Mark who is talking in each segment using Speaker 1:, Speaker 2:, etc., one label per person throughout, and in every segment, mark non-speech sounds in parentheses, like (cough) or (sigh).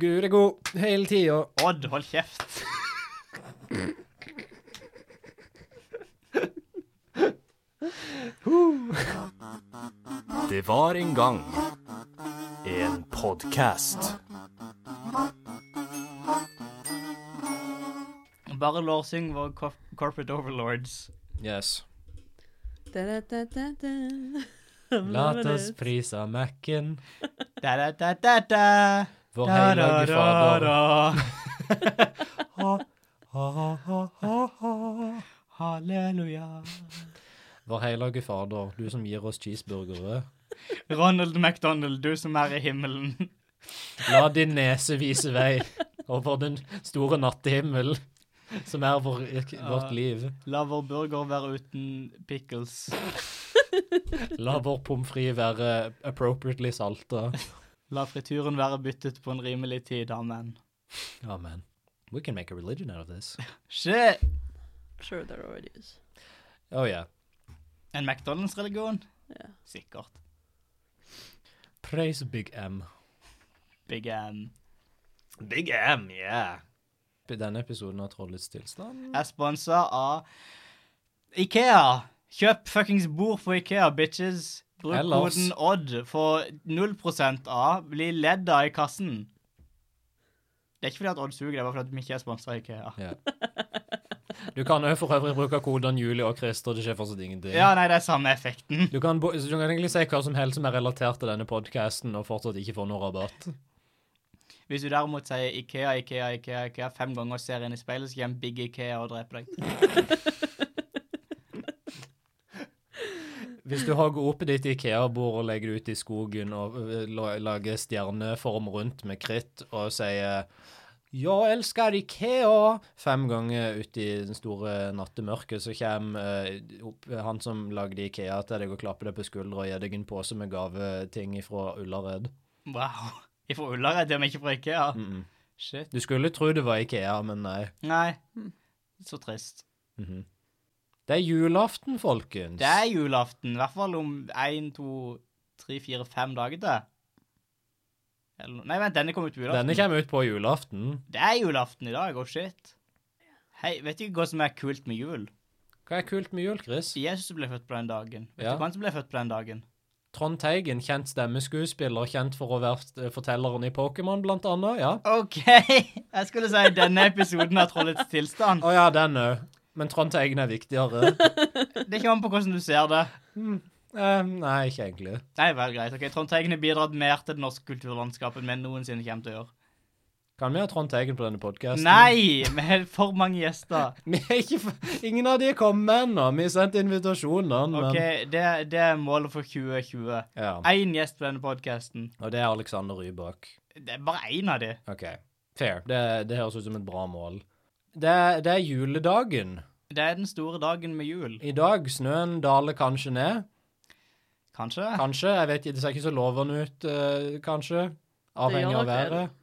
Speaker 1: Gud er god hele tida.
Speaker 2: Odd, hold kjeft.
Speaker 3: Det var en gang en podkast.
Speaker 2: Bare lårsyng vår cor- corporate overlords.
Speaker 1: Yes. La oss
Speaker 4: Lattes.
Speaker 1: prise Mac-en,
Speaker 2: Da-da-da-da-da.
Speaker 1: vår hellige Fader.
Speaker 2: Halleluja.
Speaker 1: Vår hellige Fader, du som gir oss cheeseburgere.
Speaker 2: Ronald McDonald, du som er i himmelen.
Speaker 1: La din nese vise vei over den store nattehimmel, som er vår, vårt liv.
Speaker 2: La vår burger være uten pickles.
Speaker 1: La vår pommes frites være appropriately salta.
Speaker 2: La frituren være byttet på en rimelig tid, amen.
Speaker 1: Amen. We can make a religion out of this.
Speaker 2: Shit!
Speaker 4: Sure, there already is.
Speaker 1: Oh yeah.
Speaker 2: En McDonald's-religion?
Speaker 4: Ja.
Speaker 2: Sikkert.
Speaker 1: Praise Big M.
Speaker 2: Big M.
Speaker 3: Big M, yeah.
Speaker 1: Denne episoden av Trollets tilstand.
Speaker 2: er sponsa av Ikea. Kjøp fuckings bord på Ikea, bitches. Bruk
Speaker 1: Ellers-
Speaker 2: koden ODD for 0 av. Bli ledd av i kassen. Det er ikke fordi at Odd suger, det er bare fordi at vi ikke er sponsa av Ikea.
Speaker 1: Ja. Du kan jo for øvrig bruke kodene Julie og Christer, det skjer fortsatt ingenting.
Speaker 2: Ja, nei, det er samme effekten.
Speaker 1: Du kan, bo- så du kan egentlig si hva som helst som er relatert til denne podcasten og fortsatt ikke få noe rabatt.
Speaker 2: Hvis du derimot sier Ikea, Ikea, Ikea, Ikea fem ganger og ser inn i speilet, så kommer en Big Ikea og dreper deg.
Speaker 1: Hvis du hogger opp ditt Ikea-bord og legger det ut i skogen og ø, la- lager stjerneform rundt med kritt og sier «Ja, elsker Ikea!» fem ganger ut i den store nattemørket, så kommer ø, opp, han som lagde Ikea til deg og klapper deg på skuldra og gir deg en påse med gaveting fra Ullared.
Speaker 2: Wow. Ifra Ullared, om ikke fra Ikea.
Speaker 1: Mm -mm.
Speaker 2: Shit.
Speaker 1: Du skulle tro det var Ikea, men nei.
Speaker 2: Nei. Så trist.
Speaker 1: Mhm. Det er julaften, folkens.
Speaker 2: Det er julaften, i hvert fall om 1, 2, 3, 4, 5 dager til. Eller, no- nei, vent, denne kom ut på julaften.
Speaker 1: Denne kommer ut på julaften.
Speaker 2: Det er julaften i dag, oh shit. Hei, vet du ikke hva som er kult med jul?
Speaker 1: Hva er kult med jul, Chris?
Speaker 2: Jesus ble født på den dagen. Vet
Speaker 1: Ja.
Speaker 2: du hva som ble født på den dagen?
Speaker 1: Trond Teigen, kjent stemmeskuespiller, kjent for å være eh, fortelleren i Pokémon, blant annet. Ja.
Speaker 2: Ok, (laughs) jeg skulle si denne episoden av Trollets tilstand.
Speaker 1: Å ja, den òg. Men Trond Teigen er
Speaker 2: (laughs)
Speaker 1: viktigere.
Speaker 2: Det kommer an på hvordan du ser det.
Speaker 1: Eh, nei, ikke egentlig.
Speaker 2: Nei, vel, greit. Ok, Trond Teigen har bidratt mer til det norske kulturlandskapet enn vi noensinne kommer til å gjøre.
Speaker 1: Kan vi ha Trond Teigen på denne podkasten?
Speaker 2: Nei, (laughs) vi har for mange gjester.
Speaker 1: (laughs) Vi er ikke, f- ingen av de er kommet ennå. Vi har sendt invitasjoner, men
Speaker 2: Ok, det, det er målet for 2020.
Speaker 1: ja.
Speaker 2: én gjest på denne podkasten.
Speaker 1: Og det er Alexander Rybak.
Speaker 2: Det er bare én av de.
Speaker 1: OK. Fair. Det, det høres ut som et bra mål. Det, er- det er juledagen.
Speaker 2: Det er den store dagen med jul.
Speaker 1: I dag snøen daler kanskje ned.
Speaker 2: Kanskje?
Speaker 1: Kanskje. Jeg vet ikke, det ser ikke så lovende ut, eh, kanskje. Avhengig
Speaker 4: gjør
Speaker 1: av
Speaker 4: nok det.
Speaker 1: været.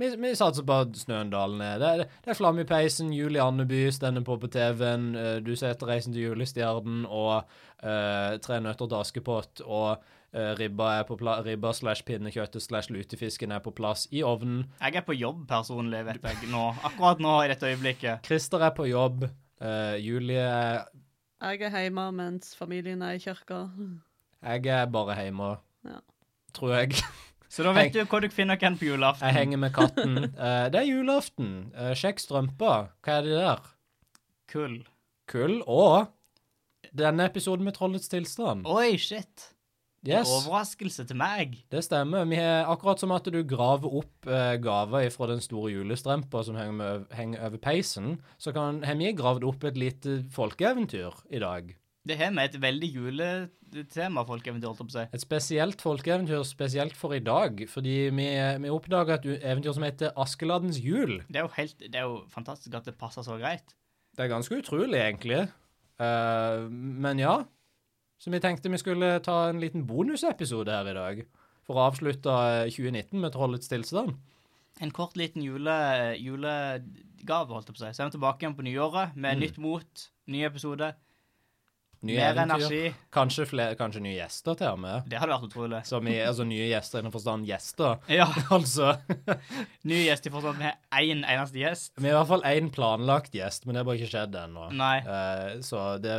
Speaker 1: Vi, vi satser på at snøen daler ned. Det, er- det er flamme i peisen, jul i Andeby, stender på på TV-en, eh, du setter Reisen til julestjernen og eh, Tre nøtter til Askepott og eh, ribba er på pla ribba slash pinnekjøttet slash lutefisken er på plass i ovnen.
Speaker 2: Jeg er på jobb personlig, vet jeg, nå. Akkurat nå, i dette øyeblikket.
Speaker 1: Christer er på jobb. eh, Julie er
Speaker 4: Jeg er hjemme mens familien er i kirka.
Speaker 1: Jeg er bare hjemme,
Speaker 4: Ja.
Speaker 1: tror jeg.
Speaker 2: Så da vet du hvor du finner hvem på
Speaker 1: Jeg
Speaker 2: julaften.
Speaker 1: henger med katten. Eh, det er julaften. Eh, sjekk strømpa. Hva er det der?
Speaker 2: Kull.
Speaker 1: Kull og denne episoden med Trollets tilstand.
Speaker 2: Oi, shit.
Speaker 1: Yes,
Speaker 2: Overraskelse til meg.
Speaker 1: det stemmer. Vi er akkurat som at du graver opp eh, gaver fra den store julestrømpa som henger, med, henger over peisen, så kan, har vi gravd opp et lite folkeeventyr i dag.
Speaker 2: Det har vi et veldig juletema, folk eventuelt, holdt jeg på å si.
Speaker 1: Et spesielt folkeeventyr spesielt for i dag, fordi vi, vi oppdaga et u- eventyr som heter Askeladdens jul.
Speaker 2: Det er jo helt Det er jo fantastisk at det passer så greit.
Speaker 1: Det er ganske utrolig, egentlig. Eh, men ja. Så vi tenkte vi skulle ta en liten bonusepisode her i dag. For å avslutte eh, 2019 med Trollets tilstand.
Speaker 2: En kort liten jule, julegave, holdt jeg på å si. Så er vi tilbake igjen på nyåret med nytt mot, ny episode.
Speaker 1: Mm. Nye
Speaker 2: Mer
Speaker 1: eventyr.
Speaker 2: energi.
Speaker 1: Kanskje, flere, kanskje nye gjester til og med.
Speaker 2: Det hadde vært utrolig.
Speaker 1: Som i, altså nye gjester innenfor forstand gjester. (laughs)
Speaker 2: Ja,
Speaker 1: altså.
Speaker 2: Ny gjest i forstand med én eneste gjest.
Speaker 1: Vi har i hvert fall én planlagt gjest, men det har bare ikke skjedd ennå.
Speaker 2: Nei.
Speaker 1: Eh, så det,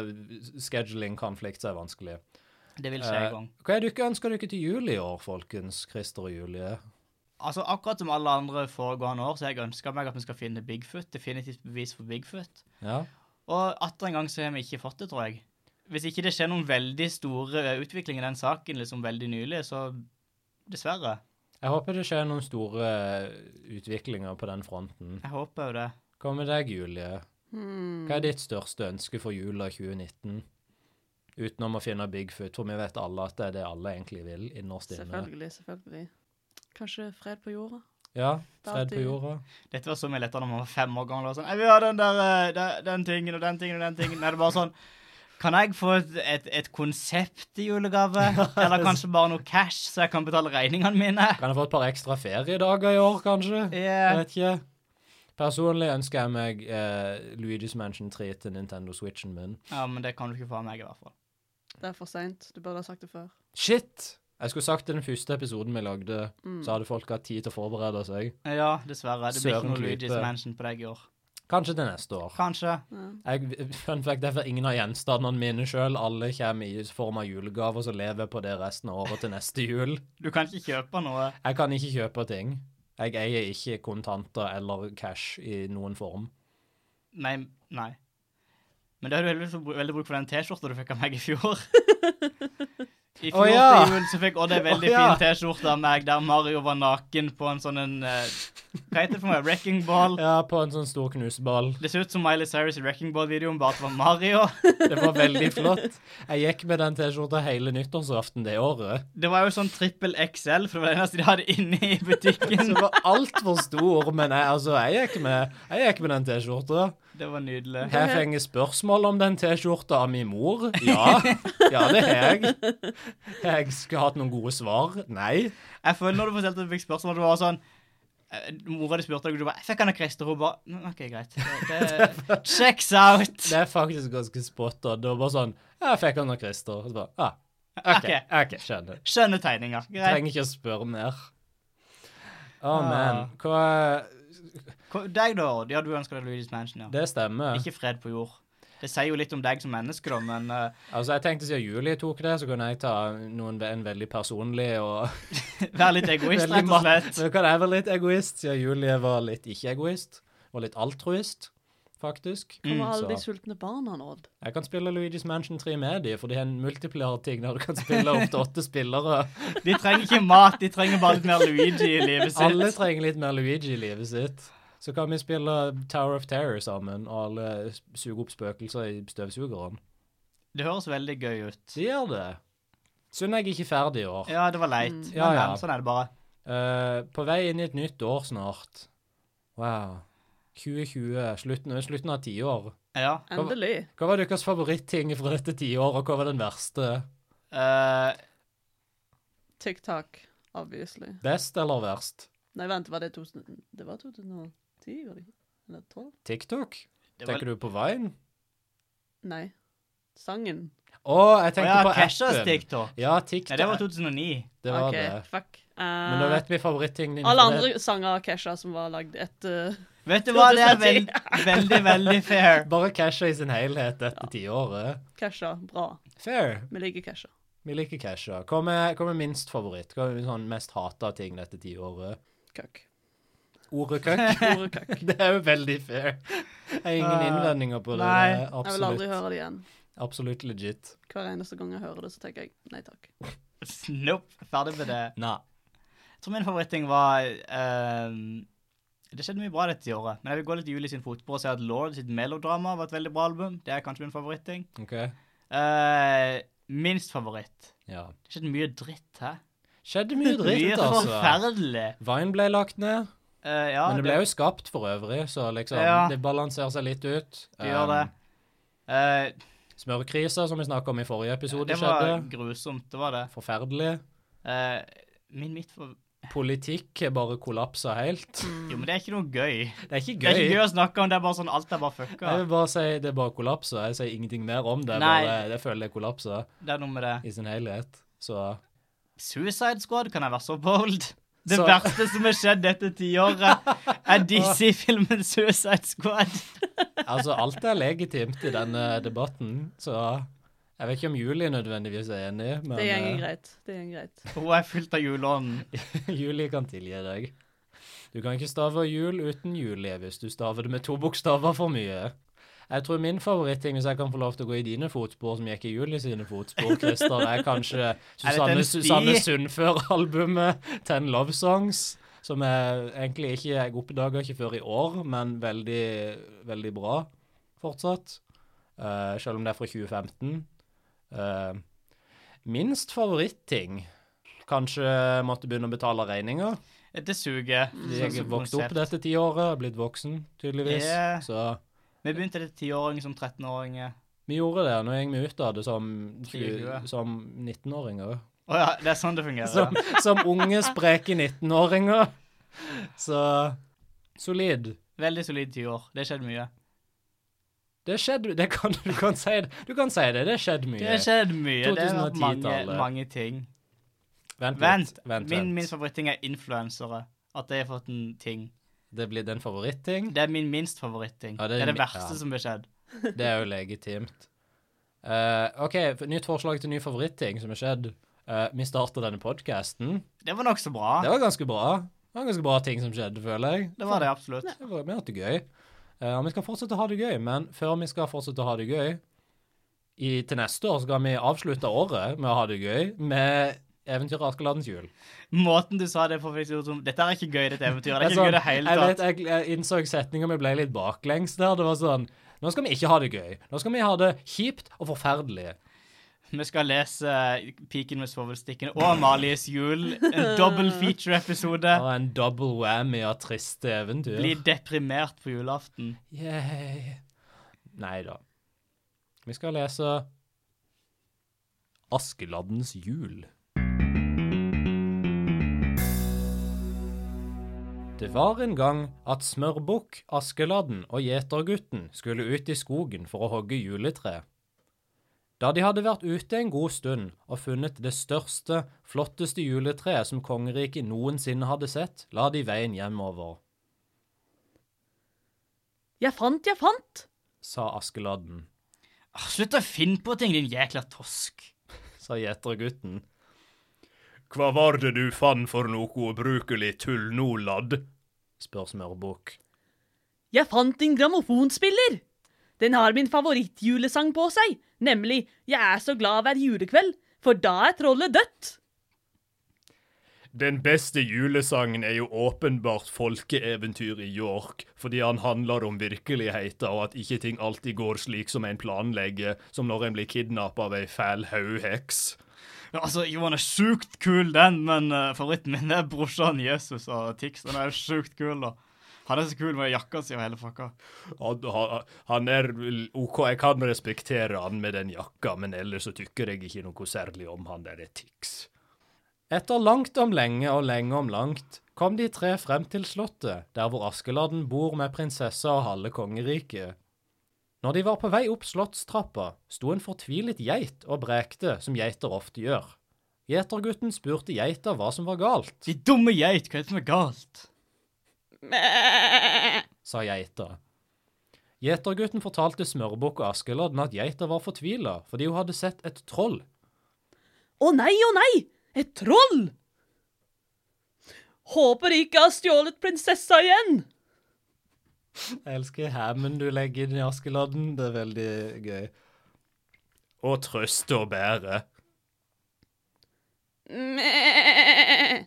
Speaker 1: scheduling konflikt er vanskelig.
Speaker 2: Det vil skje
Speaker 1: Eh,
Speaker 2: en gang.
Speaker 1: Hva er dere ønsker dere til jul i år, folkens? Christer og Julie.
Speaker 2: Altså, Akkurat som alle andre foregående år, så har jeg ønska meg at vi skal finne Bigfoot. Definitivt bevis for Bigfoot.
Speaker 1: Ja.
Speaker 2: Og atter en gang så har vi ikke fått det, tror jeg. Hvis ikke det skjer noen veldig store eh, utvikling i den saken liksom veldig nylig, så dessverre.
Speaker 1: Jeg håper det skjer noen store eh, utviklinger på den fronten.
Speaker 2: Jeg håper jo det.
Speaker 1: Hva med deg, Julie?
Speaker 4: Hmm.
Speaker 1: Hva er ditt største ønske for jula 2019? Utenom å finne Bigfoot, for vi vet alle at det er det alle egentlig vil innerst inne.
Speaker 4: Selvfølgelig, selvfølgelig. Kanskje fred på jorda?
Speaker 1: Ja, fred på jorda.
Speaker 2: Dette var så mye lettere når man var fem år gammel. og Sånn, jeg vil ha den der, eh, de- den tingen og den tingen og den tingen. Nå er det bare sånn, kan jeg få et, et, et konsept i julegave? Eller kanskje bare noe cash, så jeg kan betale regningene mine?
Speaker 1: Kan jeg få et par ekstra feriedager i år, kanskje? Jeg
Speaker 2: Yeah.
Speaker 1: vet ikke. Personlig ønsker jeg meg eh, Luigi's Mansion 3 til Nintendo Switchen min.
Speaker 2: Ja, men det kan du ikke få av meg i hvert fall.
Speaker 4: Det er for seint. Du burde ha sagt det før.
Speaker 1: Shit! Jeg skulle sagt det i den første episoden vi lagde, så hadde folk hatt tid til å forberede seg.
Speaker 2: Ja, dessverre. Det blir ikke
Speaker 1: Søren
Speaker 2: noe Luigi's
Speaker 1: klype.
Speaker 2: Mansion på deg i år.
Speaker 1: Kanskje til neste år.
Speaker 2: Kanskje.
Speaker 1: Jeg, fun fact, Derfor ingen har gjenstandene mine sjøl. Alle kommer i form av julegaver, så lever jeg på det resten av året til neste jul.
Speaker 2: Du kan ikke kjøpe noe.
Speaker 1: Jeg kan ikke kjøpe ting. Jeg eier ikke kontanter eller cash i noen form.
Speaker 2: Nei. nei. Men det har du heldigvis fått bru- veldig bruk for den T-skjorta du fikk av meg i fjor. I fjor
Speaker 1: Å, ja.
Speaker 2: til jul så fikk Odd ei veldig
Speaker 1: Å, ja.
Speaker 2: fin T-skjorte av meg der Mario var naken på en sånn en eh, Hva heter det for noe? Wrecking Ball?
Speaker 1: Ja, på en sånn stor knusball.
Speaker 2: Det ser ut som Miley Cyrus i Wrecking Ball-videoen, bare at det var Mario.
Speaker 1: Det var veldig flott. Jeg gikk med den T-skjorta hele nyttårsaften det året.
Speaker 2: Det var jo sånn trippel XL, for det var det eneste de hadde inne i butikken.
Speaker 1: (laughs) Den var altfor stor, men jeg, altså, jeg gikk med, jeg gikk med den T-skjorta.
Speaker 2: Det var nydelig.
Speaker 1: Har jeg fått spørsmål om den T-skjorta av min mor? Ja. ja, det har jeg. Har jeg sk- hatt noen gode svar? Nei.
Speaker 2: Jeg føler når du fortalte at du fikk spørsmål, det var sånn eh, Mora di spurte deg, og du bare 'Jeg fikk han av Christer.' Hun bare «Mm, 'OK, greit'.
Speaker 1: (laughs)
Speaker 2: Det, det, checks out!
Speaker 1: Det er faktisk ganske spot on. Det var bare sånn Ja, jeg fikk den av Christer. Og så bare ah, OK,
Speaker 2: Ok.
Speaker 1: ok, skjønner.
Speaker 2: Skjønne tegninger. Greit. Ah.
Speaker 1: Trenger ikke å spørre mer. Å, men hva
Speaker 2: Hva- Deg, da? Odd? Ja, du ønsker deg Luigi's Mansion, ja.
Speaker 1: Det stemmer.
Speaker 2: Ikke fred på jord. Det sier jo litt om deg som menneske, da, men eh,
Speaker 1: Altså, jeg tenkte siden Julie tok det, så kunne jeg ta noen, en veldig personlig og (laughs)
Speaker 2: vær litt egoist,
Speaker 1: Veldig
Speaker 2: rett og slett.
Speaker 1: Nå kan jeg være litt egoist, siden Julie var litt ikke-egoist. Og litt altruist, faktisk.
Speaker 4: Kommer
Speaker 2: Mm.
Speaker 4: alle de
Speaker 1: Mm, Så
Speaker 4: sultne barna nå? Odd?
Speaker 1: jeg kan spille Luigi's Mansion 3 med de, for de har en multiplier-ting der du kan spille opp til åtte
Speaker 2: (laughs)
Speaker 1: spillere.
Speaker 2: De trenger ikke mat, de trenger bare litt mer Luigi i livet sitt.
Speaker 1: Alle trenger litt mer Luigi i livet sitt. Så kan vi spille Tower of Terror sammen, og alle suger opp spøkelser i støvsugeren.
Speaker 2: Det høres veldig gøy ut.
Speaker 1: De gjør det. Synd jeg ikke er ferdig i år.
Speaker 2: Ja, det var leit.
Speaker 1: Mm. Ja,
Speaker 2: Men,
Speaker 1: ja.
Speaker 2: men, Sånn er det bare.
Speaker 1: Eh, på vei inn i et nytt år snart. Wow. 2020, slutten, slutten av tiår.
Speaker 2: Ja.
Speaker 4: Endelig.
Speaker 1: Hva var deres favoritting fra dette tiåret, og hva var den verste?
Speaker 2: Eh,
Speaker 4: TikTok, obviously.
Speaker 1: Best eller verst?
Speaker 4: Nei, vent, var det 2000 Det var 2010, var det ikke? Eller 12?
Speaker 1: TikTok?
Speaker 2: det var,
Speaker 1: Tenker du på Vine?
Speaker 4: Nei. Sangen.
Speaker 1: Å, jeg
Speaker 2: Å
Speaker 1: tenkte
Speaker 2: ja,
Speaker 1: på
Speaker 2: Cashas
Speaker 1: appen.
Speaker 2: TikTok.
Speaker 1: Ja, TikTok.
Speaker 2: Nei, det var 2009.
Speaker 1: Det var
Speaker 4: OK,
Speaker 1: det.
Speaker 4: fuck. Eh,
Speaker 1: Men da vet vi favorittingen din.
Speaker 4: alle andre sanger av Kesha som var lagd eh, etter
Speaker 2: Vet du hva, det er veld, veldig, veldig fair.
Speaker 1: Bare Casha i sin helhet dette tiåret.
Speaker 4: Kesha. Bra.
Speaker 1: Fair.
Speaker 4: Vi liker Kesha.
Speaker 1: Vi liker Casha. Hva med hva med minst favoritt? Hva med sånn mest hata ting dette tiåret?
Speaker 4: Køkk.
Speaker 1: Ordet køkk?
Speaker 4: (laughs) Ordet køkk.
Speaker 1: (laughs) Det er jo veldig fair. Jeg har ingen
Speaker 2: Eh,
Speaker 1: innvendinger på det. det er
Speaker 2: nei.
Speaker 4: Jeg vil aldri
Speaker 1: absolutt,
Speaker 4: høre det igjen.
Speaker 1: absolutt legit.
Speaker 4: Hver eneste gang jeg hører det, så tenker jeg nei takk.
Speaker 2: (laughs) Nope. Ferdig med det.
Speaker 1: Nei.
Speaker 2: Jeg tror min favoritting var ehm, Det skjedde mye bra dette året. Men jeg vil gå litt i juli sin fotball og si at Lord sitt melodrama var et veldig bra album. Det er kanskje min favoritting.
Speaker 1: OK?
Speaker 2: Eh, minst favoritt.
Speaker 1: Ja.
Speaker 2: Det skjedde mye dritt, hæ?
Speaker 1: Skjedde mye dritt,
Speaker 2: mye
Speaker 1: altså.
Speaker 2: forferdelig.
Speaker 1: Vine ble lagt ned,
Speaker 2: Eh, ja,
Speaker 1: men det ble jo skapt for øvrig, så liksom
Speaker 2: Ja.
Speaker 1: Det balanserer seg litt ut.
Speaker 2: det gjør det.
Speaker 1: Um,
Speaker 2: Eh,
Speaker 1: Smørkrisa, som vi snakka om i forrige episode,
Speaker 2: det var
Speaker 1: skjedde.
Speaker 2: grusomt, det var det.
Speaker 1: Forferdelig.
Speaker 2: Eh, min midt for...
Speaker 1: politikk er bare kollapsa helt.
Speaker 2: Jo, men det er ikke noe gøy.
Speaker 1: Det er ikke
Speaker 2: Mm. Det er ikke
Speaker 1: gøy.
Speaker 2: gøy å snakke om, det er bare sånn alt er bare fucka.
Speaker 1: Jeg vil bare si det er bare kollapsa. Jeg sier ingenting mer om det. Jeg,
Speaker 2: Nei.
Speaker 1: bare, jeg føler det er kollapsa
Speaker 2: Det er noe med det.
Speaker 1: i sin helhet. Så
Speaker 2: Suicide Squad, kan jeg være så bold? Det
Speaker 1: Så-
Speaker 2: verste som har skjedd dette tiåret, er DC-filmen Suicide Squad.
Speaker 1: altså, alt er legitimt i denne debatten, så jeg vet ikke om Julie nødvendigvis er enig, men
Speaker 4: Det går
Speaker 1: eh,
Speaker 4: greit. Det går greit.
Speaker 2: Hun er fylt av juleånden.
Speaker 1: (laughs) Julie kan tilgi deg. Du kan ikke stave jul uten Julie hvis du staver det med to bokstaver for mye. Jeg tror min favoritting, hvis jeg kan få lov til å gå i dine fotspor som gikk i Julie sine fotspor, Christer, er kanskje Susanne,
Speaker 2: en sti?
Speaker 1: Susanne Sundfør-albumet 'Ten Love Songs', som jeg egentlig ikke jeg oppdaga ikke før i år, men veldig, veldig bra fortsatt. Eh, selv om det er fra 2015. Eh, minst favoritting Kanskje måtte begynne å betale regninger.
Speaker 2: Det suger.
Speaker 1: Jeg har vokst opp dette tiåret, blitt voksen, tydeligvis.
Speaker 2: Ja.
Speaker 1: Så
Speaker 2: Vi begynte det tiåring som 13-åringer.
Speaker 1: vi gjorde det. Nå gikk vi ut av det som,
Speaker 2: Tidligere.
Speaker 1: som 19-åringer.
Speaker 2: Å ja, det er sånn det fungerer.
Speaker 1: Som, som unge, spreke 19-åringer. Så solid.
Speaker 2: Veldig solid tiår. Det skjedde mye.
Speaker 1: Det skjedde Det kan du kan si det. Du kan si det. Det skjedde mye.
Speaker 2: Det har skjedd mye. Det har vært mange,
Speaker 1: 2010-tallet.
Speaker 2: mange ting.
Speaker 1: Vent litt.
Speaker 2: Vent.
Speaker 1: vent,
Speaker 2: Min,
Speaker 1: vent.
Speaker 2: min favoritting er influensere. At de har fått en ting.
Speaker 1: Det blir din favoritting.
Speaker 2: Det er min minst favoritting.
Speaker 1: Ja,
Speaker 2: det, er det
Speaker 1: mi-
Speaker 2: verste
Speaker 1: ja.
Speaker 2: som har skjedd.
Speaker 1: Det er jo legitimt. Eh, OK, f- nytt forslag til ny favoritting som har skjedd. Eh, vi starter denne podkasten.
Speaker 2: Det var nokså bra.
Speaker 1: Det var ganske bra. Det var ganske bra ting som skjedde, føler jeg.
Speaker 2: Det var det absolutt.
Speaker 1: Det var, vi har hatt det gøy. Eh, og vi skal fortsette å ha det gøy, men før vi skal fortsette å ha det gøy, i, til neste år skal vi avslutte året med å ha det gøy med eventyret Askeladdens jul.
Speaker 2: Måten du sa det på, fikk det ut som Dette er ikke gøy, dette eventyret. Det er
Speaker 1: Jeg
Speaker 2: ikke
Speaker 1: sånn-
Speaker 2: gøy i det hele
Speaker 1: Jeg, vet,
Speaker 2: tatt.
Speaker 1: jeg, jeg innså setninga vi ble litt baklengs der. Det var sånn Nå skal vi ikke ha det gøy. Nå skal vi ha det kjipt og forferdelig.
Speaker 2: Vi skal lese eh, Piken med svovelstikkene og Amalies jul. En double feature-episode.
Speaker 1: Og en double whammy av triste eventyr.
Speaker 2: Bli deprimert på julaften.
Speaker 1: Yay. Nei da. Vi skal lese Askeladdens jul. Det var en gang at Smørbukk, Askeladden og Gjetergutten skulle ut i skogen for å hogge juletre. Da de hadde vært ute en god stund og funnet det største, flotteste juletreet som kongeriket noensinne hadde sett, la de veien hjemover,
Speaker 4: Jeg fant, jeg fant!
Speaker 1: sa Askeladden.
Speaker 2: Ah, Slutt å finne på ting, din jækla tosk.
Speaker 1: sa gjetergutten.
Speaker 3: Hva var det du fann for noe ubrukelig tull nå, ladd?
Speaker 1: Spør Smørbukk.
Speaker 4: Jeg fant en grammofonspiller! Den har min favorittjulesang på seg, nemlig Jeg er så glad hver julekveld, for da er trollet dødt.
Speaker 3: Den beste julesangen er jo åpenbart folkeeventyr i York, fordi han handler om virkeligheten og at ikke ting alltid går slik som en planlegger, som når en blir kidnappa av ei fæl haugheks.
Speaker 2: Altså, Johan er sjukt kul, den, men eh, favoritten min er brorsan Jesus og Tix. Den er jo sjukt kul, da. Han er så kul med jakka si og hele fucka.
Speaker 3: Han, han- han er vel OK, jeg kan respektere han med den jakka, men ellers så tykker jeg ikke noe særlig om han der Tix.
Speaker 1: Etter langt om lenge og lenge om langt kom de tre frem til slottet, der hvor Askeladden bor med prinsessa og halve kongeriket. Når de var på vei opp slottstrappa, sto en fortvilet geit og brekte, som geiter ofte gjør. Gjetergutten spurte geita hva som var galt,
Speaker 2: De dumme geit, hva er det som er galt?
Speaker 4: Mæ.
Speaker 1: sa geita. Gjetergutten fortalte Smørbukk og Askeladden at geita var fortvila fordi hun hadde sett et troll
Speaker 4: Å nei, å nei! Et troll! Håper de ikke har stjålet prinsessa igjen!
Speaker 1: Jeg elsker hammen du legger inn i Askeladden. Det er veldig gøy.
Speaker 3: Å trøste og bære.
Speaker 4: Mæ.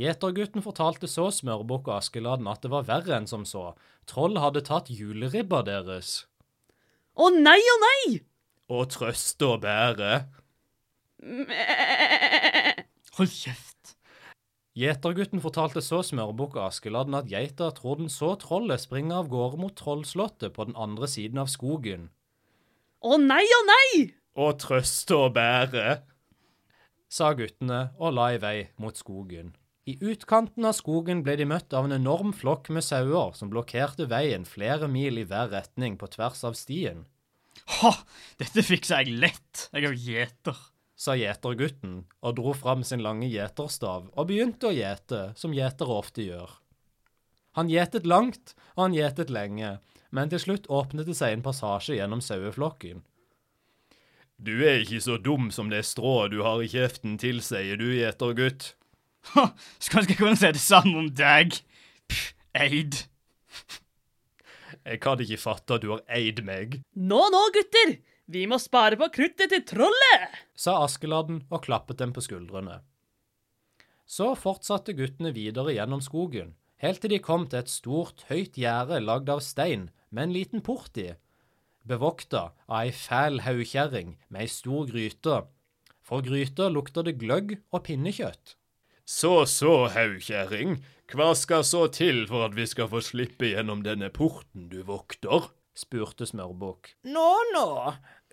Speaker 1: Gjetergutten fortalte så Smørbukk og Askeladden at det var verre enn som så. Troll hadde tatt juleribba deres.
Speaker 4: Å nei, å nei!
Speaker 3: Å trøste og bære.
Speaker 4: Mæ.
Speaker 2: Hold kjeft.
Speaker 1: Gjetergutten fortalte så Smørbukk og Askeladden at geita tror den så trollet springe av gårde mot Trollslottet på den andre siden av skogen.
Speaker 4: Å nei, å nei!
Speaker 3: Å trøste og bære.
Speaker 1: Sa guttene og la i vei mot skogen. I utkanten av skogen ble de møtt av en enorm flokk med sauer som blokkerte veien flere mil i hver retning på tvers av stien,
Speaker 2: Ha! Dette fikser jeg lett. Jeg er jo gjeter.
Speaker 1: sa gjetergutten og dro fram sin lange gjeterstav og begynte å gjete, som gjetere ofte gjør. Han gjetet langt, og han gjetet lenge, men til slutt åpnet det seg en passasje gjennom saueflokken.
Speaker 3: Du er ikke så dum som det strået du har i kjeften tilsier du, gjetergutt.
Speaker 2: (laughs) Ha! Skal jeg kunne si det samme om deg? Pff, Eid.
Speaker 3: Jeg kan ikke fatte at du har eid meg.
Speaker 4: Nå, nå, gutter! Vi må spare på kruttet til trollet!
Speaker 1: sa Askeladden og klappet dem på skuldrene. Så fortsatte guttene videre gjennom skogen, helt til de kom til et stort, høyt gjerde lagd av stein med en liten port i, bevokta av ei fæl haukjerring med ei stor gryte. For gryta lukta det gløgg og pinnekjøtt.
Speaker 3: Så så, haukjerring, hva skal så til for at vi skal få slippe gjennom denne porten du vokter?
Speaker 1: spurte Smørbukk.
Speaker 5: Nå, nå.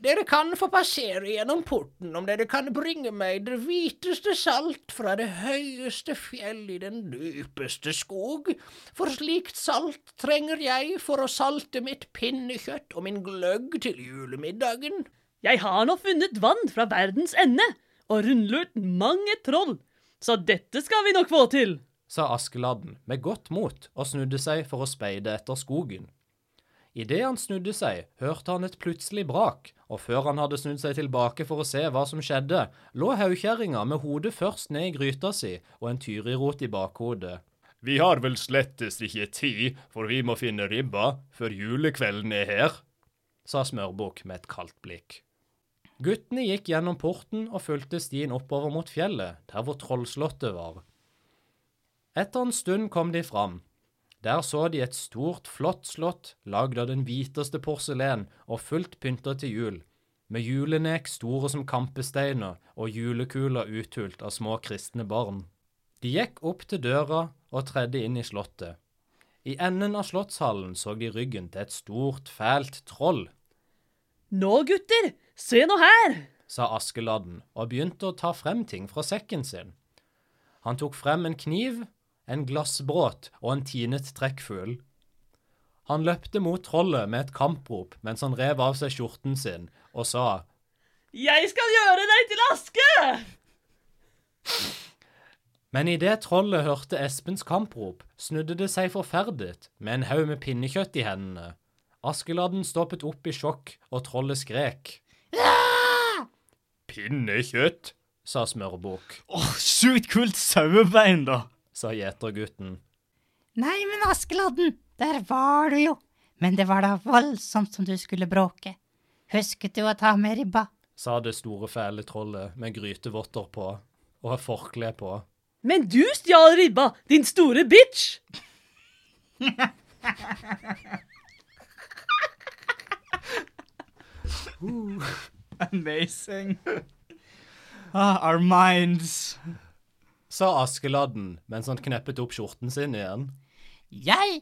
Speaker 5: Dere kan få passere gjennom porten om dere kan bringe meg det hviteste salt fra det høyeste fjell i den dypeste skog, for slikt salt trenger jeg for å salte mitt pinnekjøtt og min gløgg til julemiddagen.
Speaker 4: Jeg har nå funnet vann fra verdens ende og rundlurt mange troll, så dette skal vi nok få til.
Speaker 1: sa Askeladden med godt mot og snudde seg for å speide etter skogen. Idet han snudde seg, hørte han et plutselig brak, og før han hadde snudd seg tilbake for å se hva som skjedde, lå haukjerringa med hodet først ned i gryta si og en tyrirot i bakhodet.
Speaker 3: Vi har vel slettes ikke tid, for vi må finne ribba før julekvelden er her.
Speaker 1: sa Smørbukk med et kaldt blikk. Guttene gikk gjennom porten og fulgte stien oppover mot fjellet, der hvor Trollslottet var. Etter en stund kom de fram. Der så de et stort, flott slott, lagd av den hviteste porselen og fullt pynta til jul, med julenek store som kampesteiner og julekuler uthult av små kristne barn. De gikk opp til døra og tredde inn i slottet. I enden av slottshallen så de ryggen til et stort, fælt troll,
Speaker 4: Nå, gutter, se nå her!
Speaker 1: sa Askeladden og begynte å ta frem ting fra sekken sin. Han tok frem en kniv, en glassbråt og en tinet trekkfugl. Han løpte mot trollet med et kamprop mens han rev av seg skjorten sin og sa
Speaker 4: Jeg skal gjøre deg til aske!
Speaker 1: Men idet trollet hørte Espens kamprop, snudde det seg forferdet, med en haug med pinnekjøtt i hendene. Askeladden stoppet opp i sjokk, og trollet skrek,
Speaker 3: Pinnekjøtt?
Speaker 1: sa Smørbukk,
Speaker 2: Åh, Sjukt kult sauebein, da.
Speaker 1: sa gjetergutten.
Speaker 6: Nei, men Askeladden, der var du jo. Men det var da voldsomt som du skulle bråke. Husket du å ta med ribba?
Speaker 1: sa det store, fæle trollet med grytevotter på og forkle på.
Speaker 4: Men du stjal ribba, din store bitch!
Speaker 2: Amazing. (laughs) Ah, our minds.
Speaker 1: Sa Askeladden mens han kneppet opp skjorten sin igjen.
Speaker 6: Jeg?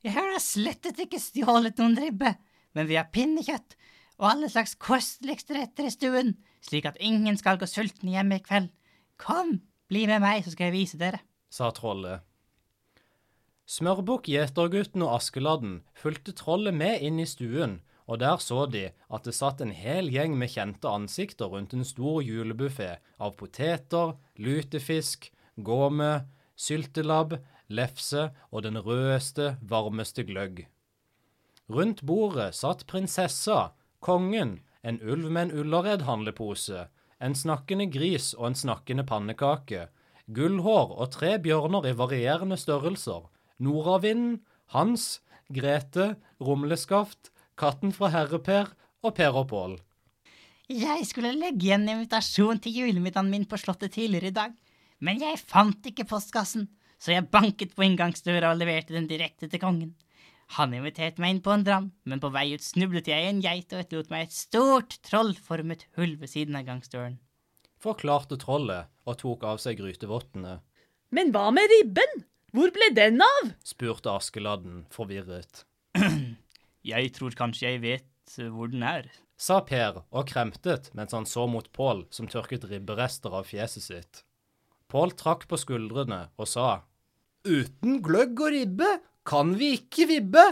Speaker 6: Jeg har da slettet ikke stjålet noen ribbe, men vi har pinnekjøtt og alle slags kosteligste retter i stuen, slik at ingen skal gå sultne hjemme i kveld. Kom, bli med meg, så skal jeg vise dere.
Speaker 1: sa trollet. Smørbukk, gjetergutten og Askeladden fulgte trollet med inn i stuen, og der så de at det satt en hel gjeng med kjente ansikter rundt en stor julebuffé av poteter, lutefisk, gåme, syltelabb, lefse og den rødeste, varmeste gløgg. Rundt bordet satt prinsessa, kongen, en ulv med en Ullared-handlepose, en snakkende gris og en snakkende pannekake, gullhår og tre bjørner i varierende størrelser, nordavinden, Hans, Grete, Rumleskaft, katten fra Herreper og Per og Pål.
Speaker 6: Jeg skulle legge igjen invitasjon til julemiddagen min på Slottet tidligere i dag, men jeg fant ikke postkassen, så jeg banket på inngangsdøra og leverte den direkte til kongen. Han inviterte meg inn på en dram, men på vei ut snublet jeg i en geit og etterlot meg et stort trollformet hull ved siden av gangsdøren.
Speaker 1: Forklarte trollet og tok av seg grytevottene,
Speaker 4: Men hva med ribben? Hvor ble den av?
Speaker 1: spurte Askeladden forvirret.
Speaker 2: Jeg tror kanskje jeg vet eh, hvor den er.
Speaker 1: Sa Per og kremtet mens han så mot Pål som tørket ribberester av fjeset sitt. Pål trakk på skuldrene og sa
Speaker 5: Uten gløgg og ribbe kan vi ikke vibbe.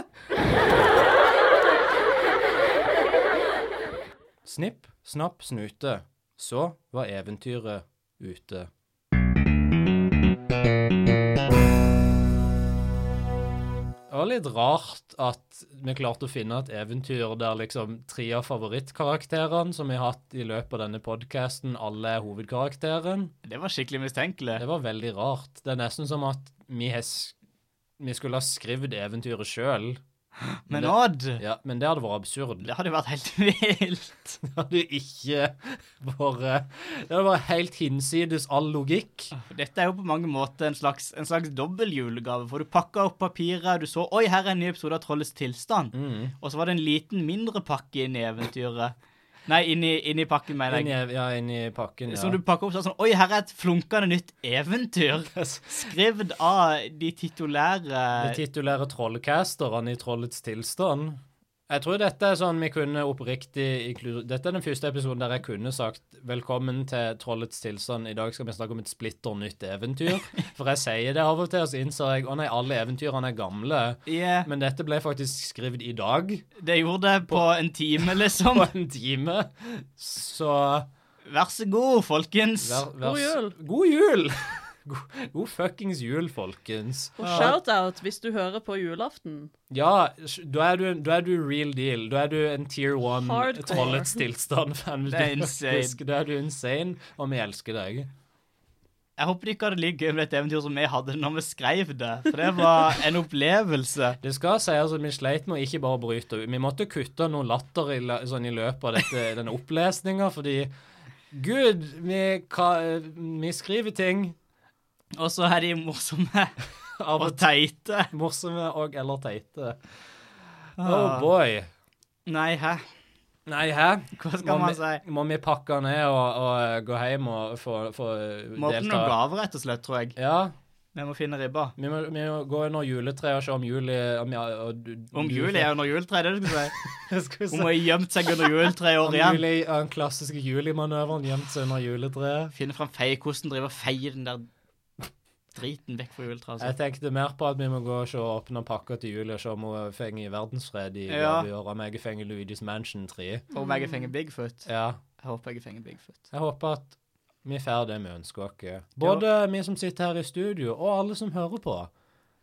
Speaker 1: Snipp, snapp, snute. Så var eventyret ute. Det var litt rart at vi klarte å finne et eventyr der liksom tre av favorittkarakterene som vi har hatt i løpet av denne podkasten, alle er hovedkarakteren.
Speaker 2: Det var skikkelig mistenkelig.
Speaker 1: Det var veldig rart. Det er nesten som at vi, har sk- vi skulle ha skrevet eventyret sjøl.
Speaker 2: Men Odd,
Speaker 1: Ja, men det hadde vært absurd.
Speaker 2: det hadde jo vært helt (laughs) vilt.
Speaker 1: Det hadde jo ikke vært Det hadde vært helt hinsides all logikk.
Speaker 2: Dette er jo på mange måter en slags, en slags dobbel julegave, for du pakka opp papiret, du så Oi, her er en ny episode av Trollets tilstand. Og så var det en liten mindre pakke inn i eventyret. Nei, inn i, inn i pakken, mener
Speaker 1: Inn
Speaker 2: jeg.
Speaker 1: i, ja, inn i pakken, ja.
Speaker 2: Som du pakker opp så er det sånn Oi, her er et flunkende nytt eventyr. Skrevet av de titulære
Speaker 1: De titulære trollcasterne i Trollets tilstand. Jeg tror dette er sånn vi kunne oppriktig inklu- Dette er den første episoden der jeg kunne sagt velkommen til Trollets tilstand. I dag skal vi snakke om et splitter nytt
Speaker 4: (laughs)
Speaker 1: eventyr. For jeg sier det av og til, og så innser jeg å nei, alle eventyrene er gamle.
Speaker 2: Ja,
Speaker 1: Men dette ble faktisk skrevet i dag, (laughs)
Speaker 2: Det gjorde det på en time, liksom.
Speaker 1: på en time. Så
Speaker 2: Vær så god, folkens.
Speaker 1: vær, vær,
Speaker 4: God jul.
Speaker 1: God jul! (laughs) God, god fuckings jul, folkens.
Speaker 4: Og shout-out hvis du hører på julaften.
Speaker 1: Ja, da er, du, da er du real deal. Da er du en tier one
Speaker 4: Hardcore.
Speaker 1: trollets tilstand-fan.
Speaker 2: Det er insane.
Speaker 1: Da er du insane, og vi elsker deg.
Speaker 2: Jeg håper de ikke hadde like gøy med dette eventyret som vi hadde når vi skrev det. For det var en opplevelse.
Speaker 1: Det skal sies at vi sleit med å ikke bare bryte ut. Vi måtte kutte noe latter i, la- sånn, i løpet av dette, (laughs) denne opplesninga, fordi Gud, vi, ka- vi skriver ting
Speaker 2: Og så er de morsomme
Speaker 1: av
Speaker 2: og
Speaker 1: og til
Speaker 2: teite.
Speaker 1: morsomme og eller teite. Oh boy.
Speaker 2: Nei, hæ?
Speaker 1: Nei, hæ?
Speaker 2: Ah. Hva skal man si?
Speaker 1: Vi, må vi pakke ned og, og gå hjem og få, få
Speaker 2: Må åpne noen gaver, rett og slett, tror jeg.
Speaker 1: Ja,
Speaker 2: Vi må finne ribba.
Speaker 1: vi må, vi må gå under juletreet og se om juli om, ja, og,
Speaker 2: Om jul er under juletreet, det er det du skal si.
Speaker 1: (laughs) Skal vi
Speaker 2: Hun
Speaker 1: se.
Speaker 2: må ha gjemt seg under juletreet i
Speaker 1: Om
Speaker 2: år igjen.
Speaker 1: juli, den klassiske julimanøveren gjemt seg under juletreet.
Speaker 2: Finne fram feiekosten, drive og feie den der driten vekk fra juletreet. altså.
Speaker 1: Jeg tenkte mer på at vi må gå og se og åpne pakka til Julie og se om hun fenger verdensfred i
Speaker 2: Ja.
Speaker 1: juleåret. Om jeg fenger Luigi's Mansion 3.
Speaker 2: Og om jeg fenger Bigfoot.
Speaker 1: Ja.
Speaker 2: Jeg håper jeg fenger Bigfoot.
Speaker 1: Jeg håper at vi får det vi ønsker oss. Både vi som sitter her i studio, og alle som hører på.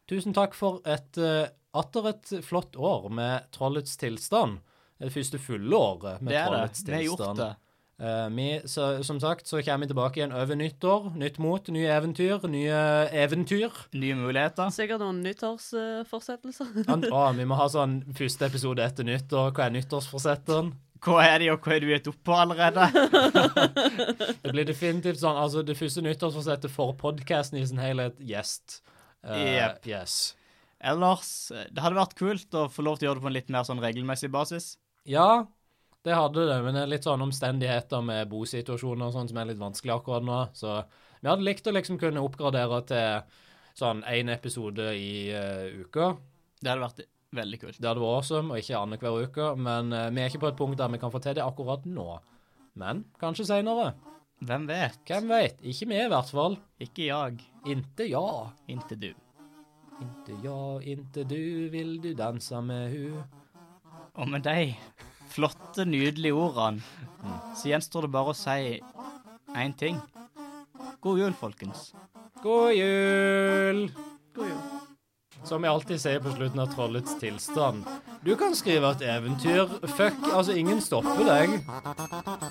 Speaker 1: Tusen takk for et eh, atter et flott år med Trollets tilstand. Det første fulle året med
Speaker 2: Det er det.
Speaker 1: Trollets
Speaker 2: Vi har gjort
Speaker 1: tilstand.
Speaker 2: det.
Speaker 1: Eh, vi, så, som sagt så kommer vi tilbake igjen over nyttår. Nytt mot, nye eventyr, nye eventyr.
Speaker 2: Nye muligheter.
Speaker 4: Sikkert noen nyttårsfortsettelser.
Speaker 1: An å, vi må ha sånn første episode etter nyttår. Hva er nyttårsforsetteren?
Speaker 2: Hva er de, og hva er du gitt opp på
Speaker 1: (laughs)
Speaker 2: allerede?
Speaker 1: Det blir definitivt sånn, altså det første nyttårsforsettet for podcasten i sin helhet, gjest. Eh,
Speaker 2: Jep.
Speaker 1: Yes.
Speaker 2: Ellers, det hadde vært kult å få lov til å gjøre det på en litt mer sånn regelmessig basis.
Speaker 1: Ja, det hadde det, men det er litt sånn omstendigheter med bosituasjoner og sånn som er litt vanskelig akkurat nå. Så vi hadde likt å liksom kunne oppgradere til sånn én episode i eh, uka.
Speaker 2: Det hadde vært veldig kult.
Speaker 1: Det hadde vært awesome, og ikke annenhver uke. Men eh, vi er ikke på et punkt der vi kan få til det akkurat nå. Men kanskje seinere.
Speaker 2: Hvem vet?
Speaker 1: Hvem veit? Ikke vi, i hvert fall.
Speaker 2: Ikke jeg.
Speaker 1: Inte ja.
Speaker 2: Inntil du.
Speaker 1: Inte ja, inte du, vil du danse med hu?
Speaker 2: Og med de flotte, nydelige ordene, så gjenstår det bare å si én ting. God jul, folkens.
Speaker 1: God jul!
Speaker 4: God jul.
Speaker 1: Som jeg alltid sier på slutten av Trollets tilstand. Du kan skrive et eventyr. Fuck, altså, ingen stopper deg.